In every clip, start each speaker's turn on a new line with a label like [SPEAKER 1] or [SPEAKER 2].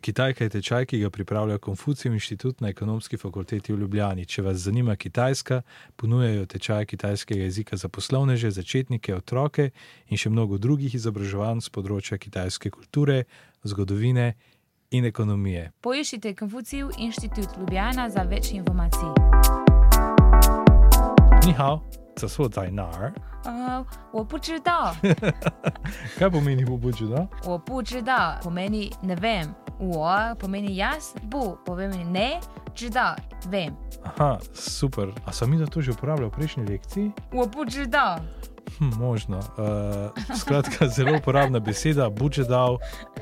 [SPEAKER 1] Kitajka je tečaj, ki ga pripravlja Konfucijev inštitut na ekonomski fakulteti v Ljubljani. Če vas zanima Kitajska, ponujajo tečaj kitajskega jezika za poslovneže, začetnike, otroke in še mnogo drugih izobraževanj z področja kitajske kulture, zgodovine in ekonomije.
[SPEAKER 2] Poiščite Konfucijev inštitut Ljubljana za več informacij.
[SPEAKER 1] 你好，这所在哪儿？
[SPEAKER 2] Uh, 我不知道，
[SPEAKER 1] Kaj pomeni pobuđeno?
[SPEAKER 2] 我不知道 pomeni ne vem. 我 pomeni jaz, bu pomeni ne,知道 vem.
[SPEAKER 1] Aha, super. A sem mi to že uporabljal v prejšnji lekciji?
[SPEAKER 2] 我不知道，
[SPEAKER 1] Hm, možno. Uh, skratka, zelo uporabna beseda, buđedal,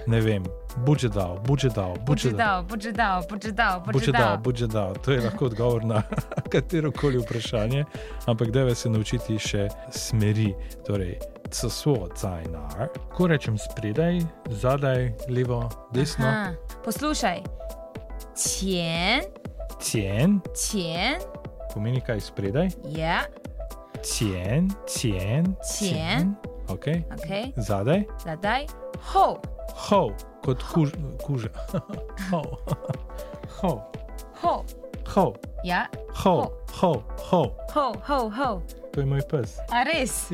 [SPEAKER 1] ne vem. Buđedal, buđedal,
[SPEAKER 2] 不知
[SPEAKER 1] buđedal.
[SPEAKER 2] 道，不知道，不知道，不知
[SPEAKER 1] Buđedal,
[SPEAKER 2] 道。
[SPEAKER 1] buđedal. To je lahko odgovor na katero koli vprašanje, ampak deve se naučiti še smeri. Torej, Casuo cajnar, ko rečem spredaj, zadaj, levo, desno,
[SPEAKER 2] 嗯，poslušaj，钱
[SPEAKER 1] cien,
[SPEAKER 2] 钱
[SPEAKER 1] pomeni kaj spredaj,
[SPEAKER 2] je
[SPEAKER 1] cien, cien,
[SPEAKER 2] Cien.
[SPEAKER 1] Okay.
[SPEAKER 2] OK，
[SPEAKER 1] zadaj,
[SPEAKER 2] 那在后
[SPEAKER 1] hov, kot kuž, kuža. hov, hov,
[SPEAKER 2] 后
[SPEAKER 1] hov,
[SPEAKER 2] 呀
[SPEAKER 1] hov, hov, hov.
[SPEAKER 2] 后后后
[SPEAKER 1] To je moj pes.
[SPEAKER 2] a res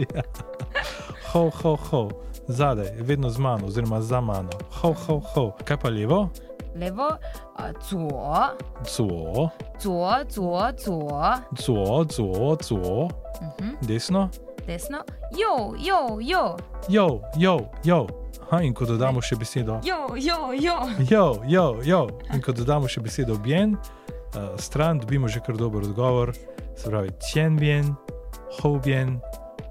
[SPEAKER 1] Hov, hov, hov, zadaj, vedno z mano, oziroma za mano. Hov, hov, hov. Kaj pa levo?
[SPEAKER 2] levo 呃左
[SPEAKER 1] Zuo,
[SPEAKER 2] 左左左
[SPEAKER 1] zuo, zuo, zuo.
[SPEAKER 2] 嗯哼
[SPEAKER 1] Desno,
[SPEAKER 2] desno 右右右
[SPEAKER 1] jo, jo, jo. Aha, in ko dodamo še besedo
[SPEAKER 2] 右右右
[SPEAKER 1] jo, jo, jo. In ko dodamo še besedo bien, uh, stran, dobimo že kar dober odgovor. Se pravi, tjen bien, hov bien,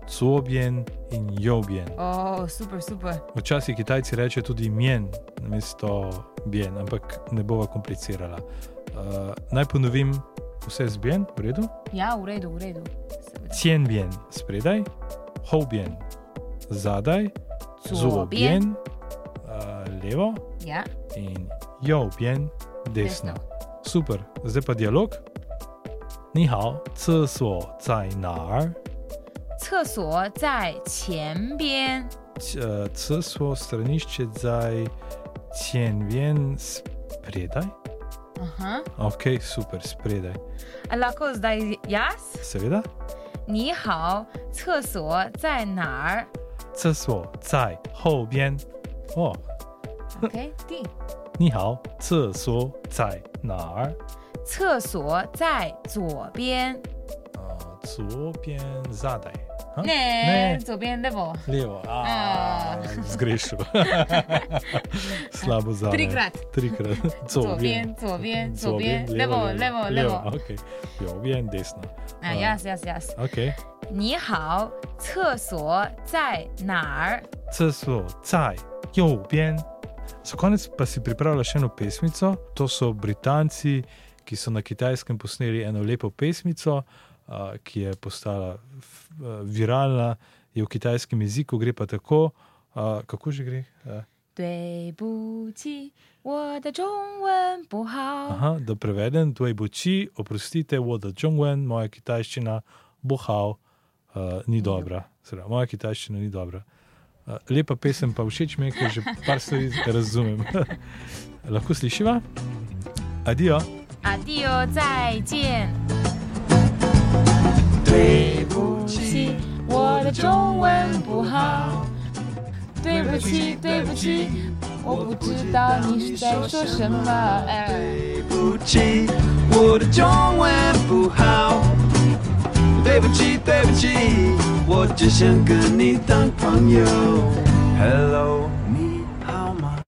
[SPEAKER 1] zuo bien in jo bien.
[SPEAKER 2] 哦 super super
[SPEAKER 1] Včasih Kitajci rečejo tudi mien, namesto bien, ampak ne bova komplicirala. Uh, naj ponovim vse z bien, v redu.
[SPEAKER 2] ja v redu v redu
[SPEAKER 1] Cien bien, spredaj, hov bien, zadaj, zuo bien, uh, levo
[SPEAKER 2] 呀
[SPEAKER 1] in jo bien, desno. Super, zdaj pa dialog. Ni hao, c so, caj nar,
[SPEAKER 2] 厕所在前边
[SPEAKER 1] c so, stranišče, caj, cien bien, spredaj.
[SPEAKER 2] 嗯哼
[SPEAKER 1] Ok, super, spredaj.
[SPEAKER 2] a lahko zdaj jaz
[SPEAKER 1] Seveda,
[SPEAKER 2] 你好厕所在哪儿
[SPEAKER 1] c so, caj, hov bien. O,
[SPEAKER 2] OK 第
[SPEAKER 1] ni hao, c so, caj nar.
[SPEAKER 2] 厕所在左边，
[SPEAKER 1] Zuo bien, zadaj. Ha?
[SPEAKER 2] 那左边 level
[SPEAKER 1] Levo, a,
[SPEAKER 2] A.
[SPEAKER 1] zgrešil. Slabo zadaj.
[SPEAKER 2] Trikrat.
[SPEAKER 1] Trikrat. Zuo
[SPEAKER 2] 左
[SPEAKER 1] bien.
[SPEAKER 2] 边左边左
[SPEAKER 1] Zuo
[SPEAKER 2] 边
[SPEAKER 1] bien,
[SPEAKER 2] level levo levo，
[SPEAKER 1] Ok, jo bien, desno.
[SPEAKER 2] 啊 yes yes yes，
[SPEAKER 1] Ok.
[SPEAKER 2] 你好，厕所在哪儿？
[SPEAKER 1] C so, caj, jo bien. Za konec pa si pripravila še eno pesmico. To so Britanci, ki so na kitajskem posneli eno lepo pesmico, a, ki je postala f- a, viralna, je v kitajskem jeziku, gre pa tako, a, kako že gre. A,
[SPEAKER 2] 对不起，我的中文不好。
[SPEAKER 1] Aha, da prevedem, to je boči, oprostite, voda Jongwen, moja kitajščina, bohal, uh, ni dobra. Sra, moja kitajščina ni dobra. Uh, lepa pesem pa všeč mi je, ker že par stvari razumem. Lahko slišiva? Adijo.
[SPEAKER 2] Adio，再哦见。
[SPEAKER 1] 对
[SPEAKER 2] 不起，我的中文不好。对不起，对不起，我不知道你是在说什么。哎。
[SPEAKER 3] 对不起，我的中文不好。对不起，对不起，我只想跟你当朋友。Hello。